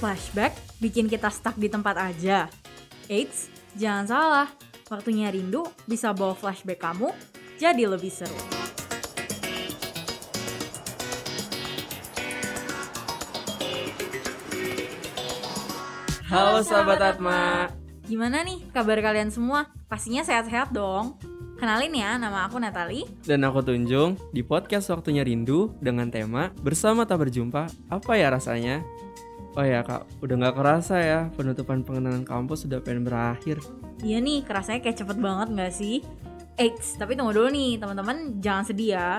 Flashback bikin kita stuck di tempat aja. Eits, jangan salah. Waktunya rindu bisa bawa flashback kamu jadi lebih seru. Halo sahabat Atma. Gimana nih kabar kalian semua? Pastinya sehat-sehat dong. Kenalin ya, nama aku Natali. Dan aku Tunjung di podcast Waktunya Rindu dengan tema Bersama Tak Berjumpa, Apa Ya Rasanya? Oh ya kak, udah nggak kerasa ya penutupan pengenalan kampus sudah pengen berakhir. Iya nih, kerasanya kayak cepet banget gak sih? Eits, tapi tunggu dulu nih teman-teman, jangan sedih ya.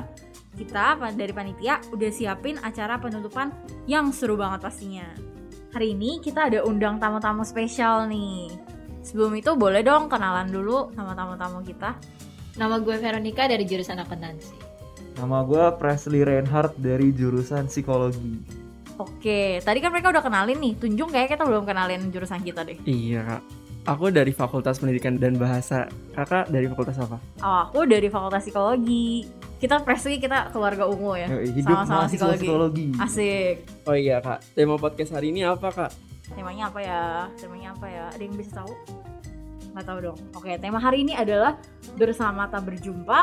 Kita pa- dari panitia udah siapin acara penutupan yang seru banget pastinya. Hari ini kita ada undang tamu-tamu spesial nih. Sebelum itu boleh dong kenalan dulu sama tamu-tamu kita. Nama gue Veronica dari jurusan akuntansi. Nama gue Presley Reinhardt dari jurusan psikologi. Oke, tadi kan mereka udah kenalin nih. Tunjung kayak kita belum kenalin jurusan kita deh. Iya kak, aku dari Fakultas Pendidikan dan Bahasa. Kakak dari Fakultas apa? Oh, aku dari Fakultas Psikologi. Kita presi kita keluarga ungu ya. Yoi, hidup Sama-sama mahasiswa psikologi. psikologi. Asik. Oh iya kak, tema podcast hari ini apa kak? Temanya apa ya? Temanya apa ya? Ada yang bisa tahu? Nggak tahu dong. Oke, tema hari ini adalah bersama tak berjumpa.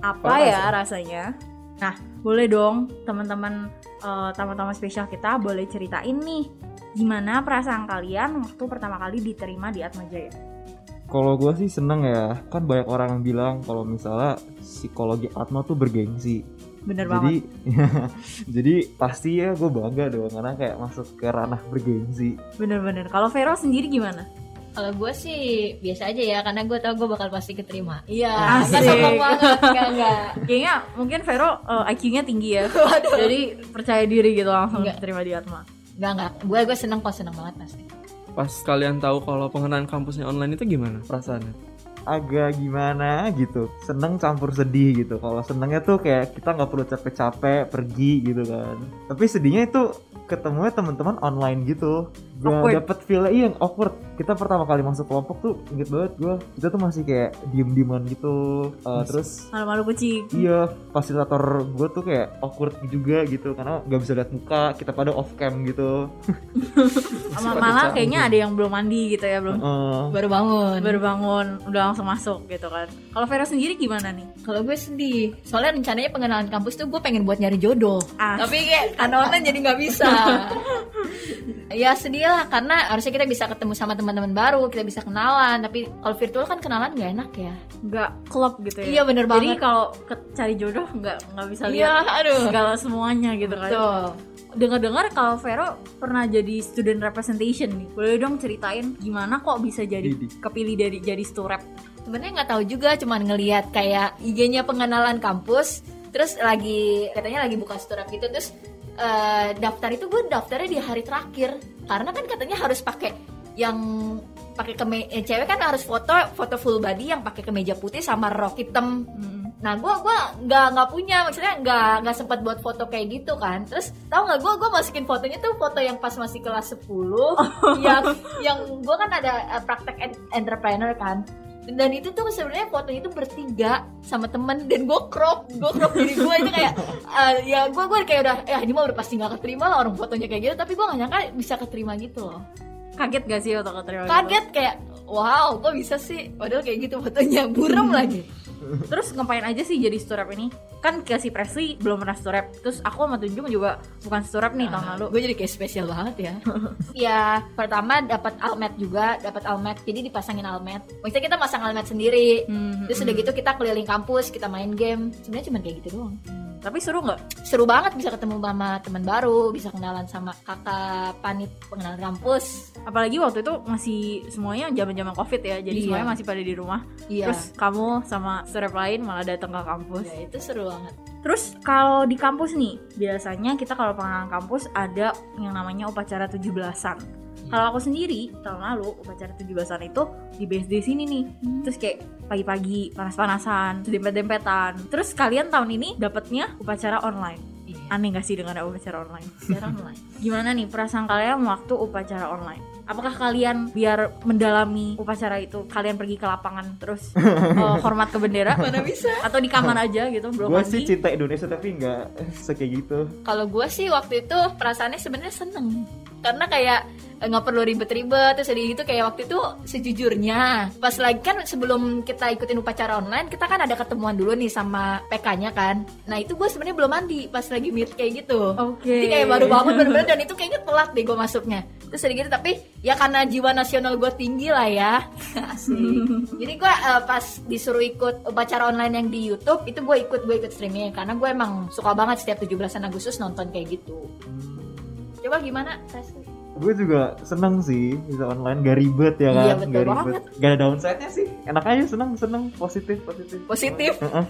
Apa ya rasanya? Nah, boleh dong teman-teman eh, tamu-tamu spesial kita boleh ceritain nih gimana perasaan kalian waktu pertama kali diterima di Atma Jaya. Kalau gue sih seneng ya, kan banyak orang yang bilang kalau misalnya psikologi Atma tuh bergengsi. Bener jadi, banget. jadi pasti ya gue bangga dong karena kayak masuk ke ranah bergengsi. Bener-bener. Kalau Vero sendiri gimana? Kalau gue sih biasa aja ya, karena gue tau gue bakal pasti keterima. Nah, Iya, Nggak sombong banget, enggak enggak. Kayaknya mungkin Vero eh, IQ-nya tinggi ya. Jadi percaya diri gitu langsung Nggak. diterima di Atma. Enggak enggak. Gue gue seneng kok, seneng banget pasti. Pas kalian tahu kalau pengenalan kampusnya online itu gimana perasaannya? Agak gimana gitu, seneng campur sedih gitu. Kalau senengnya tuh kayak kita nggak perlu capek-capek pergi gitu kan. Tapi sedihnya itu ketemunya teman-teman online gitu. Awkward. Gak dapet feel iya yang awkward. Kita pertama kali masuk kelompok tuh inget banget gue. Kita tuh masih kayak diem-dieman gitu. Uh, terus Malu-malu kucing. iya fasilitator gue tuh kayak awkward juga gitu karena nggak bisa lihat muka. Kita pada off cam gitu. Ama- malah kayaknya ada yang belum mandi gitu ya belum Eh, Baru bangun. baru bangun udah langsung masuk gitu kan kalau Vero sendiri gimana nih Kalau gue sedih, soalnya rencananya pengenalan kampus tuh gue pengen buat nyari jodoh. ah Tapi kayak karena online jadi nggak bisa. ya sedih lah, karena harusnya kita bisa ketemu sama teman-teman baru, kita bisa kenalan. Tapi kalau virtual kan kenalan nggak enak ya. nggak klop gitu ya Iya, bener jadi banget. kalau ke- cari jodoh nggak nggak bisa Iya, lihat aduh. segala semuanya gitu kan Betul. dengar-dengar kalau Vero pernah jadi student representation nih boleh dong ceritain gimana kok bisa jadi Didi. kepilih dari jadi sturep sebenarnya nggak tahu juga cuman ngelihat kayak IG-nya pengenalan kampus terus lagi katanya lagi buka store gitu terus eh, daftar itu gue daftarnya di hari terakhir karena kan katanya harus pakai yang pakai kemeja cewek kan harus foto foto full body yang pakai kemeja putih sama rok hitam Mm. Nah, gue gua nggak nggak punya, maksudnya nggak nggak sempat buat foto kayak gitu kan. Terus tau nggak gue gue masukin fotonya tuh foto yang pas masih kelas 10 yang yang gue kan ada eh, praktek en- entrepreneur kan. Dan itu tuh sebenarnya fotonya itu bertiga sama temen dan gue crop, gue crop diri gue itu kayak eh, ya gue gue kayak udah ya ini mah udah pasti nggak keterima lah orang fotonya kayak gitu. Tapi gue nggak nyangka bisa keterima gitu loh. kaget gak sih waktu keterima gitu? Kaget kayak wow kok bisa sih padahal kayak gitu fotonya burem lagi. terus ngapain aja sih jadi sturep ini kan kasih Presley belum pernah sturep terus aku sama Tunjung juga bukan sturep nih tahun lalu gue Nah, jadi kayak spesial banget ya ya pertama dapat almet juga dapat almet jadi dipasangin almet maksudnya kita masang almet sendiri Hmm, terus hmm, udah hmm. gitu kita keliling kampus kita main game sebenarnya cuma kayak gitu doang tapi seru nggak seru banget bisa ketemu sama teman baru bisa kenalan sama kakak panit pengenalan kampus apalagi waktu itu masih semuanya zaman zaman covid ya jadi Iya. semuanya masih pada di rumah iya terus kamu sama surep lain malah datang ke kampus Ya, itu seru banget terus kalau di kampus nih biasanya kita kalau pengenalan kampus ada yang namanya upacara 17-an Hmm. kalau aku sendiri tahun lalu upacara 17-an itu di BSD sini nih terus kayak pagi-pagi panas-panasan terus dempet-dempetan terus kalian tahun ini dapatnya upacara online iya. aneh gak sih dengan upacara online jarang lah Gimana nih perasaan kalian waktu upacara online? Apakah kalian biar mendalami upacara itu kalian pergi ke lapangan terus eh, hormat ke bendera mana bisa atau di kamar aja gitu belum gue sih mandi? cinta Indonesia tapi nggak eh, sekaya gitu. kalau gue sih waktu itu perasaannya sebenarnya seneng karena kayak eh, nggak perlu ribet-ribet terus jadi itu kayak waktu itu sejujurnya pas lagi kan sebelum kita ikutin upacara online kita kan ada ketemuan dulu nih sama PK-nya kan nah itu gue sebenarnya belum mandi pas lagi meet kayak gitu Oke. jadi kayak baru bangun bener-bener dan itu kayaknya telat deh gue masuknya Terus sedikit tapi ya karena jiwa nasional gue tinggi lah ya Asik Jadi gue eh, pas disuruh ikut upacara online yang di Youtube Itu gue ikut, gue ikut streaming Karena gue emang suka banget setiap 17an Agustus nonton kayak gitu Coba gimana? Leslie? gue juga seneng sih bisa online gak ribet ya kan Iya, betul gak ribet gak ada downside-nya sih enak aja seneng seneng positif positif Positif Heeh.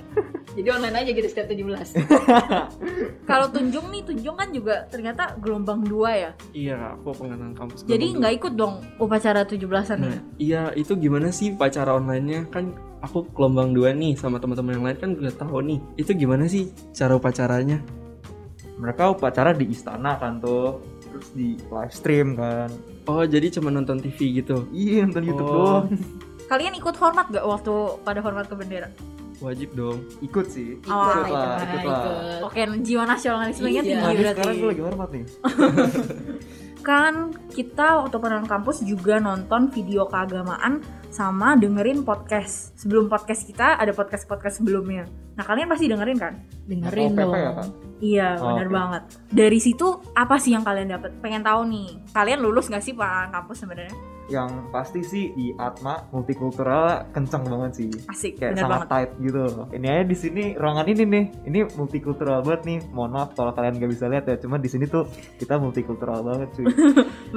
Jadi online aja gitu setiap 17 Kalau Tunjung nih, Tunjung kan juga ternyata gelombang dua ya. Iya Kak, aku pengenalan kampus Jadi gelombang nggak ikut dong upacara 17-an Nah, nih. Hmm. iya itu gimana sih pacara onlinenya kan aku gelombang dua nih sama teman-teman yang lain kan udah tahu nih itu gimana sih cara upacaranya mereka upacara di istana kan tuh terus di live stream kan oh jadi cuma nonton TV gitu iya nonton YouTube Oh. doang Kalian ikut hormat gak waktu pada hormat kebendaraan? wajib dong ikut sih Awal ikut lah itu, Nah, ikut lah Oh, ikut. Oke, jiwa nasionalismenya Iya. tinggi Nah, ini berarti. sekarang gue lagi hormat nih Kan kita waktu pernah kampus juga nonton video keagamaan sama dengerin podcast. Sebelum podcast kita ada podcast-podcast sebelumnya. Nah, kalian pasti dengerin kan? Dengerin Oh, PP dong ya, Kak? Iya, Oh, benar oke. banget. Dari situ apa sih yang kalian dapat? Pengen tahu nih. Kalian lulus gak sih pengalaman kampus sebenarnya? yang pasti sih di Atma multikultural kenceng banget sih Asik, kayak benar sangat banget. tight gitu loh. Ini aja di sini ruangan ini nih, ini multikultural banget nih. Mohon maaf kalau kalian gak bisa lihat ya, cuma di sini tuh kita multikultural banget cuy.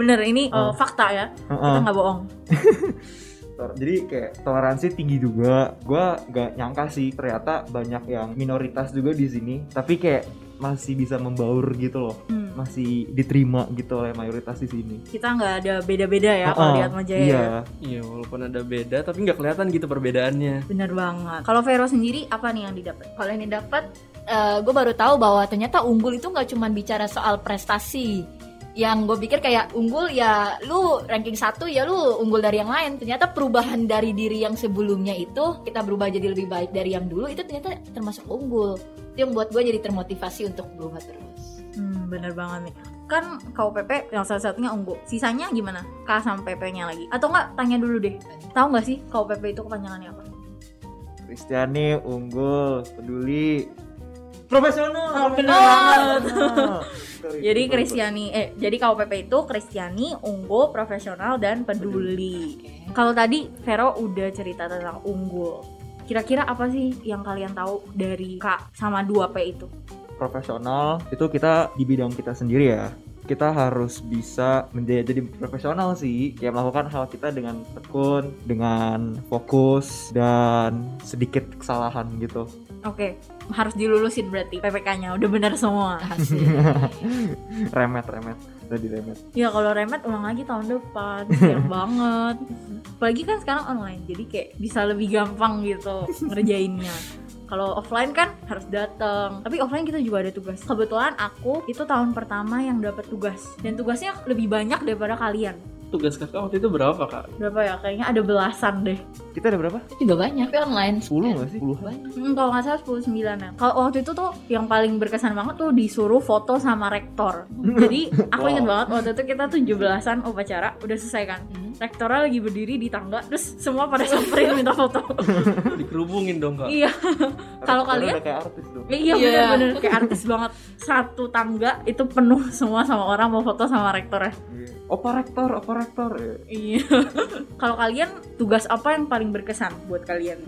Bener, ini Oh. eh, fakta ya. Kita Heeh. nggak bohong. Tor- Jadi kayak toleransi tinggi juga. Gua gak nyangka sih ternyata banyak yang minoritas juga di sini, tapi kayak masih bisa membaur gitu loh, Hmm. masih diterima gitu oleh mayoritas di sini. Kita nggak ada beda-beda ya kalau ya. Heeh. di Atmajaya. Iya. iya walaupun ada beda tapi nggak kelihatan gitu perbedaannya Bener banget. Kalau Vero sendiri apa nih yang didapat? Kalau ini dapat, gue baru tahu bahwa ternyata unggul itu nggak cuma bicara soal prestasi. Yang gue pikir kayak unggul ya lu ranking satu ya lu unggul dari yang lain. Ternyata perubahan dari diri yang sebelumnya itu kita berubah jadi lebih baik dari yang dulu itu ternyata termasuk unggul. Itu yang buat gue jadi termotivasi untuk berubah terus. Hmm, bener banget nih. Kan KUPP yang salah satunya unggul. Sisanya gimana? K sama PP-nya lagi. Atau nggak tanya dulu deh. Tahu nggak sih KUPP itu kepanjangannya apa? Kristiani unggul, peduli, Oh, profesional. bener banget. Jadi Kristiani eh jadi KUPP itu Kristiani, unggul, profesional dan peduli. Kalau tadi Vero udah cerita tentang unggul. Kira-kira apa sih yang kalian tahu dari K sama 2P itu? profesional itu kita di bidang kita sendiri ya kita harus bisa menjadi jadi profesional sih kayak melakukan hal kita dengan tekun dengan fokus dan sedikit kesalahan gitu Oke, harus dilulusin berarti PPK-nya udah benar semua. Hasil. remet remet tadi remet Ya kalau remet ulang lagi tahun depan, siap banget. Apalagi kan sekarang online, jadi kayak bisa lebih gampang gitu ngerjainnya. Kalau offline kan harus datang. Tapi offline kita juga ada tugas. Kebetulan aku itu tahun pertama yang dapat tugas dan tugasnya lebih banyak daripada kalian. tugas kakak waktu itu berapa kak Berapa ya? Kayaknya ada belasan deh. kita ada berapa Itu juga banyak tapi online. Iya. 10 nggak sih 10 Banyak. Hmm, kalau nggak salah 19 ya. Kalau waktu itu tuh yang paling berkesan banget tuh disuruh foto sama rektor. Jadi aku ingat Wow. banget waktu itu kita 17-an upacara udah selesai kan. Hmm. rektornya lagi berdiri di tangga terus semua pada samperin minta foto dikerubungin dong kak iya Kalau kalian? udah kayak artis tuh iya Iya. bener-bener kayak artis banget satu tangga itu penuh semua sama orang mau foto sama rektornya operator operator ya. iya kalau kalian tugas apa yang paling berkesan buat kalian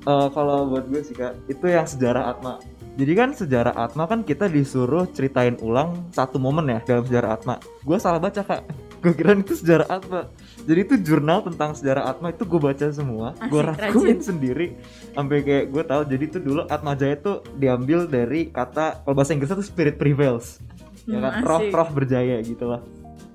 Eh, kalau buat gue sih kak itu yang sejarah Atma jadi kan sejarah Atma kan kita disuruh ceritain ulang satu momen ya dalam sejarah Atma gue salah baca kak gue kira itu sejarah Atma jadi itu jurnal tentang sejarah Atma itu gue baca semua gue Asik, rangkumin sendiri sampai kayak gue tahu jadi itu dulu Atma Jaya itu diambil dari kata kalau bahasa Inggris itu spirit prevails ya Hmm, kan asik. roh roh berjaya gitu lah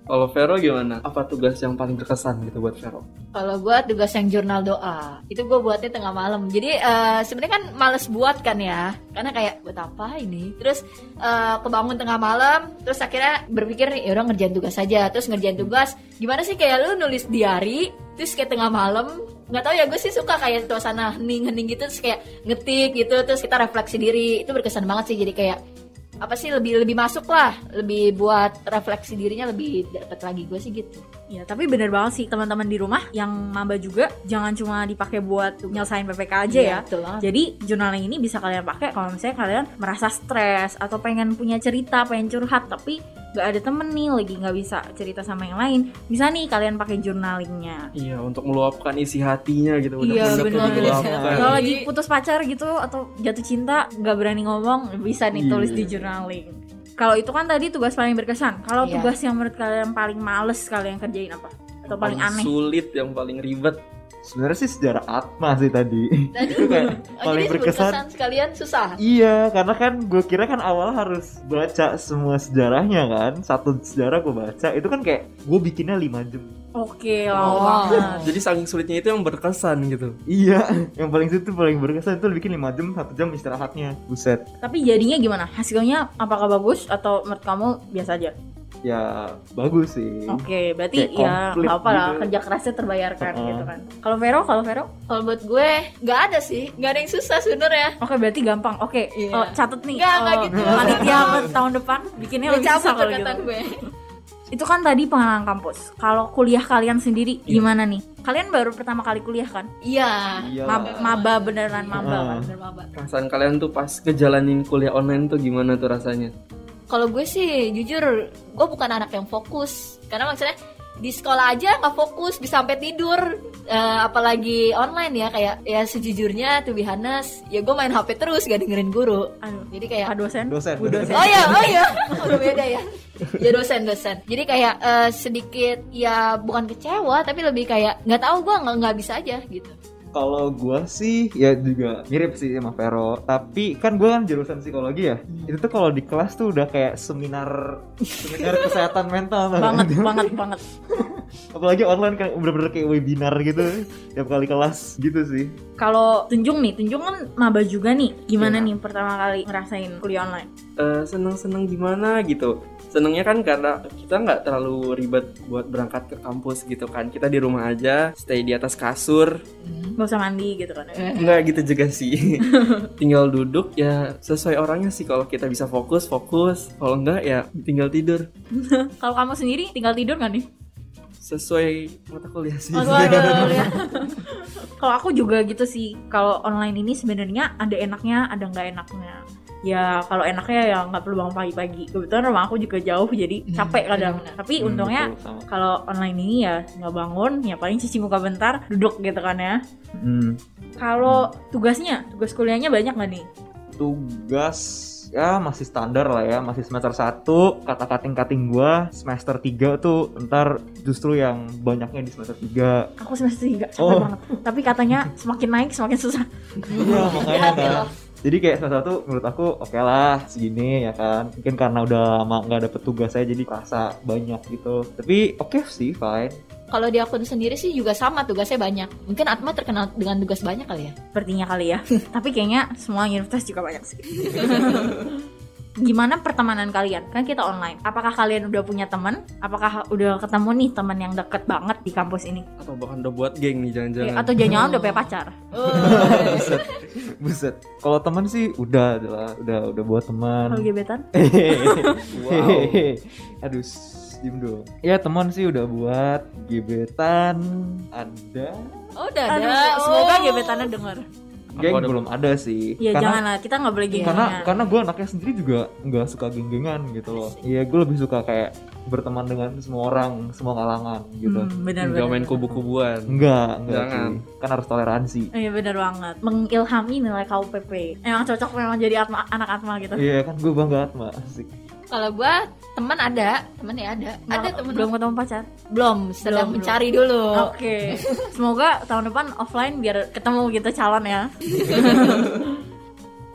kalau Vero gimana apa tugas yang paling berkesan gitu buat Vero Kalau gue tugas yang jurnal doa itu gue buatnya tengah malam. Jadi eh, sebenarnya kan males buat kan ya, karena kayak buat apa ini? Terus eh, kebangun tengah malam, terus akhirnya berpikir ya udah ngerjain tugas aja. Terus Hmm. ngerjain tugas, gimana sih kayak lu nulis diary, terus kayak tengah malam nggak tahu ya gue sih suka kayak suasana hening-hening gitu terus kayak ngetik gitu terus kita refleksi diri itu berkesan banget sih jadi kayak apa sih lebih lebih masuk lah lebih buat refleksi dirinya lebih dapat lagi gue sih gitu Ya, tapi bener banget sih teman-teman di rumah yang maba juga jangan cuma dipakai buat nyelesain PPK aja ya. Iya, betul banget. Jadi journaling ini bisa kalian pakai kalau misalnya kalian merasa stres atau pengen punya cerita, pengen curhat tapi nggak ada temen nih lagi nggak bisa cerita sama yang lain. Bisa nih kalian pakai journalingnya. Iya, untuk meluapkan isi hatinya gitu. Iya, bener-bener tuh bener. diluapkan. Kalau Jadi- lagi putus pacar gitu atau jatuh cinta nggak berani ngomong bisa nih Iya. tulis di journaling. Kalau itu kan tadi tugas paling berkesan. Kalau Iya. tugas yang menurut kalian paling males kalian kerjain apa? Atau paling aneh? sulit, yang paling ribet. Sebenarnya sih sejarah Atma sih tadi. Tadi Itu kayak oh, paling jadi berkesan. berkesan sekalian susah Iya, karena kan gue kira kan awal harus baca semua sejarahnya kan. Satu sejarah gue baca, itu kan kayak gue bikinnya 5 jam. Oke, Oh. Wow. lama banget. Jadi saking sulitnya itu yang berkesan gitu. Iya, yang paling situ paling berkesan itu bikin 5 jam, 1 jam istirahatnya. Buset. Tapi jadinya gimana? Hasilnya apakah bagus atau menurut kamu biasa aja? Ya bagus sih. Oke, berarti Hmm. Kayak ya komplit nggak apa lah gitu. Uh-uh. kerja kerasnya terbayarkan Heeh. gitu kan. Kalau Vero, kalau Vero, kalau buat gue nggak ada sih nggak ada yang susah sebenarnya oke berarti gampang. Oke, Iya. eh, catet nih. Nggak, nggak eh, gitu. Panitia buat tahun depan bikinnya Udah lebih susah cabut kalau gitu. perkataan gue Itu kan tadi pengalaman kampus. Kalau kuliah kalian sendiri Iya. gimana nih? Kalian baru pertama kali kuliah kan? iya Iya. Uh-uh. Mab- maba beneran maba Heeh. kan? Bener, Maba. Perasaan kalian tuh pas ngejalanin kuliah online tuh gimana tuh rasanya? kalau gue sih jujur gue bukan anak yang fokus karena maksudnya di sekolah aja nggak fokus bisa sampai tidur Eh, apalagi online ya kayak ya sejujurnya tuh Bihanes ya gue main HP terus gak dengerin guru Aduh, jadi kayak Pak Anu, dosen. Dosen. Bu dosen. Oh ya, oh ya, udah beda ya. Ya dosen dosen. Jadi kayak eh, sedikit ya bukan kecewa tapi lebih kayak nggak tahu gua nggak nggak bisa aja gitu. Kalau gua sih ya juga mirip sih sama Vero, tapi kan gua kan jurusan psikologi ya. Hmm. Itu tuh kalau di kelas tuh udah kayak seminar seminar kesehatan mental tau banget, nggak? banget, banget. Apalagi online kan bener-bener kayak webinar gitu tiap kali kelas gitu sih. Kalau Tunjung nih, Tunjung kan maba juga nih. Gimana Iya. nih pertama kali ngerasain kuliah online? Eh, seneng-seneng gimana gitu? Senengnya kan karena kita nggak terlalu ribet buat berangkat ke kampus gitu kan. Kita di rumah aja, stay di atas kasur, Hmm. Gak usah mandi gitu kan. Iya. Enggak gitu juga sih. tinggal duduk ya sesuai orangnya sih kalau kita bisa fokus fokus, kalau enggak ya tinggal tidur Kalau kamu sendiri tinggal tidur gak nih? sesuai mata kuliah sih. Kalau Iya, kuliah. Kalau aku juga gitu sih. Kalau online ini sebenarnya ada enaknya, ada nggak enaknya. Ya kalau enaknya ya nggak perlu bangun pagi-pagi. Kebetulan rumah aku juga jauh jadi Hmm, capek kadang. benar-benar. Tapi untungnya Hmm, betul, sama. kalau online ini ya nggak bangun, ya paling cuci muka bentar, duduk gitu kan ya. Hmm. Kalau tugasnya, tugas kuliahnya banyak nggak nih? tugas ya masih standar lah ya masih semester 1 kata kating kating gua semester 3 tuh ntar justru yang banyaknya di semester 3 Aku semester tiga, capek Oh. banget. Tapi katanya semakin naik semakin susah. iya makanya Hati-hati kan loh. jadi kayak semester 1 menurut aku oke lah segini ya kan mungkin karena udah lama nggak dapet tugas saya jadi kerasa banyak gitu tapi oke sih fine Kalau di akun sendiri sih juga sama tugasnya banyak. Mungkin Atma terkenal dengan tugas banyak kali ya. sepertinya kali ya. Tapi kayaknya semua universitas juga banyak sih. Gimana pertemanan kalian? Kan kita online. Apakah kalian udah punya teman? Apakah udah ketemu nih teman yang deket banget di kampus ini? Atau bahkan udah buat geng nih Eh, jangan-jangan. Atau jangan-jangan udah punya pacar? Oh. buset buset kalau teman sih udah adalah udah udah buat teman Kalau gebetan? Wow. Aduh, shh, diem dong. Ya teman sih udah buat gebetan ada. Oh, udah ada. Aduh, semoga Oh. gebetannya denger. Geng ada? belum ada sih. Ya karena janganlah, kita nggak boleh gini. Iya. karena kan- karena gue anaknya sendiri juga nggak suka geng-gengan gitu loh. Iya, gue lebih suka kayak berteman dengan semua orang, semua kalangan gitu. hmm, benar Enggak benar. main kubu-kubuan. Enggak, enggak Jangan. sih. Kan harus toleransi. Iya benar banget. Mengilhami nilai KUPP. Emang cocok memang jadi atma, anak atma gitu. Iya, kan gue bangga Atma. Asik. Kalau gua teman ada, teman ya ada. Nggak- ada teman belum ketemu pacar. belum Oh. Belum, sedang mencari dulu. Oke, semoga tahun depan offline biar ketemu gitu calon ya.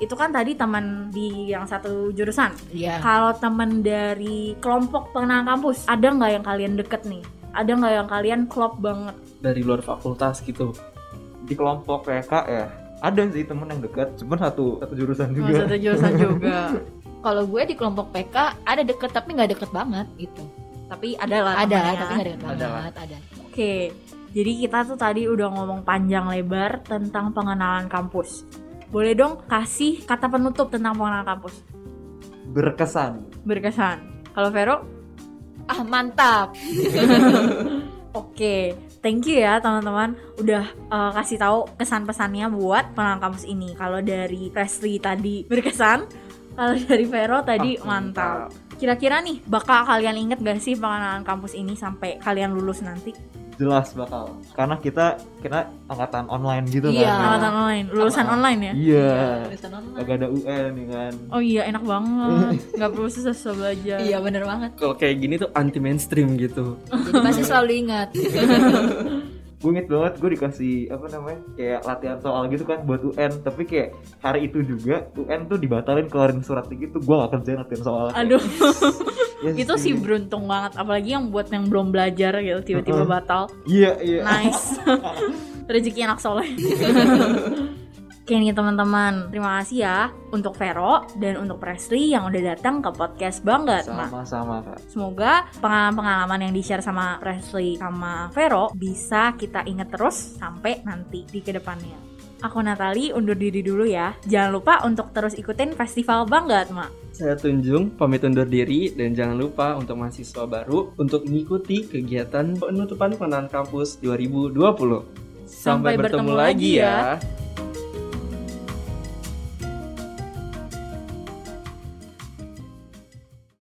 itu kan tadi teman di yang satu jurusan. Iya. Kalau teman dari kelompok pengenang kampus, ada nggak yang kalian deket nih? Ada nggak yang kalian klop banget? Dari luar fakultas gitu. Di kelompok PK ya, ada sih temen yang dekat, cuman satu satu Oh, jurusan juga. Satu jurusan juga. Kalau gue di kelompok PK ada deket tapi nggak deket banget gitu. tapi ada lah. Ada temennya. tapi nggak deket Ada lah. banget. Ada. Oke, jadi kita tuh tadi udah ngomong panjang lebar tentang pengenalan kampus. Boleh dong kasih kata penutup tentang pengenalan kampus. berkesan berkesan. Kalau Vero, Ah mantap. oke. Thank you ya teman-teman udah eh, kasih tahu kesan-pesannya buat pengenalan kampus ini. Kalau dari Prestri tadi berkesan, kalau dari Vero tadi Ah, Oh, mantap. Kira-kira nih bakal kalian inget gak sih pengenalan kampus ini sampai kalian lulus nanti? jelas bakal karena kita kita angkatan online gitu Iya. kan Angkatan online, lulusan Apa? online ya? iya Tulisan online. agak ada UN ya kan Oh iya enak banget, nggak perlu susah-susah belajar. Iya bener banget. Kalau kayak gini tuh anti mainstream gitu. Jadi pasti selalu ingat. gue inget banget gue dikasih apa namanya kayak latihan soal gitu kan buat UN tapi kayak hari itu juga UN tuh dibatalin keluarin surat gitu gue gak kerjain latihan soal Ya Aduh, Yes, itu sih beruntung banget, apalagi yang buat yang belum belajar gitu tiba-tiba Mm-mm. batal. iya iya Nice. Rezeki anak soleh. Oke nih teman-teman, terima kasih ya untuk Vero dan untuk Presley yang udah datang ke podcast banget, Ma. sama-sama kak Semoga pengalaman-pengalaman yang di-share sama Presley sama Vero bisa kita inget terus sampai nanti di kedepannya. Aku Natali undur diri dulu ya. Jangan lupa untuk terus ikutin festival banget, Ma. Saya Tunjung, pamit undur diri dan jangan lupa untuk mahasiswa baru untuk mengikuti kegiatan penutupan pengenalan kampus 2020. Sampai, bertemu, lagi ya.